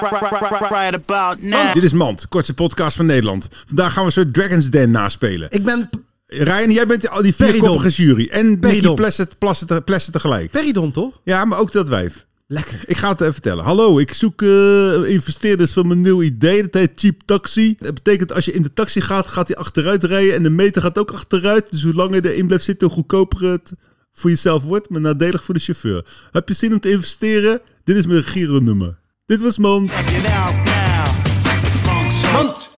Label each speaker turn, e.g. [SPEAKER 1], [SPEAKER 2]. [SPEAKER 1] right about now.
[SPEAKER 2] Dit is Mand, kortste podcast van Nederland. Vandaag gaan we een soort Dragon's Den naspelen.
[SPEAKER 3] Ik ben P-
[SPEAKER 2] Ryan, jij bent al die vierkoppige jury. En Becky
[SPEAKER 3] Meridon.
[SPEAKER 2] Plessen plassen, plassen tegelijk.
[SPEAKER 3] Peridon, toch?
[SPEAKER 2] Ja, maar ook dat wijf.
[SPEAKER 3] Lekker.
[SPEAKER 2] Ik ga het even vertellen. Hallo, ik zoek eh, investeerders van mijn nieuw idee. Dat heet Cheap Taxi. Dat betekent als je in de taxi gaat, gaat hij achteruit rijden. En de meter gaat ook achteruit. Dus hoe langer je erin blijft zitten, hoe goedkoper het voor jezelf wordt. Maar nadelig voor de chauffeur. Heb je zin om te investeren? Dit is mijn Giro-nummer. Dit was Mand.
[SPEAKER 1] Check it out now. Funk Soul.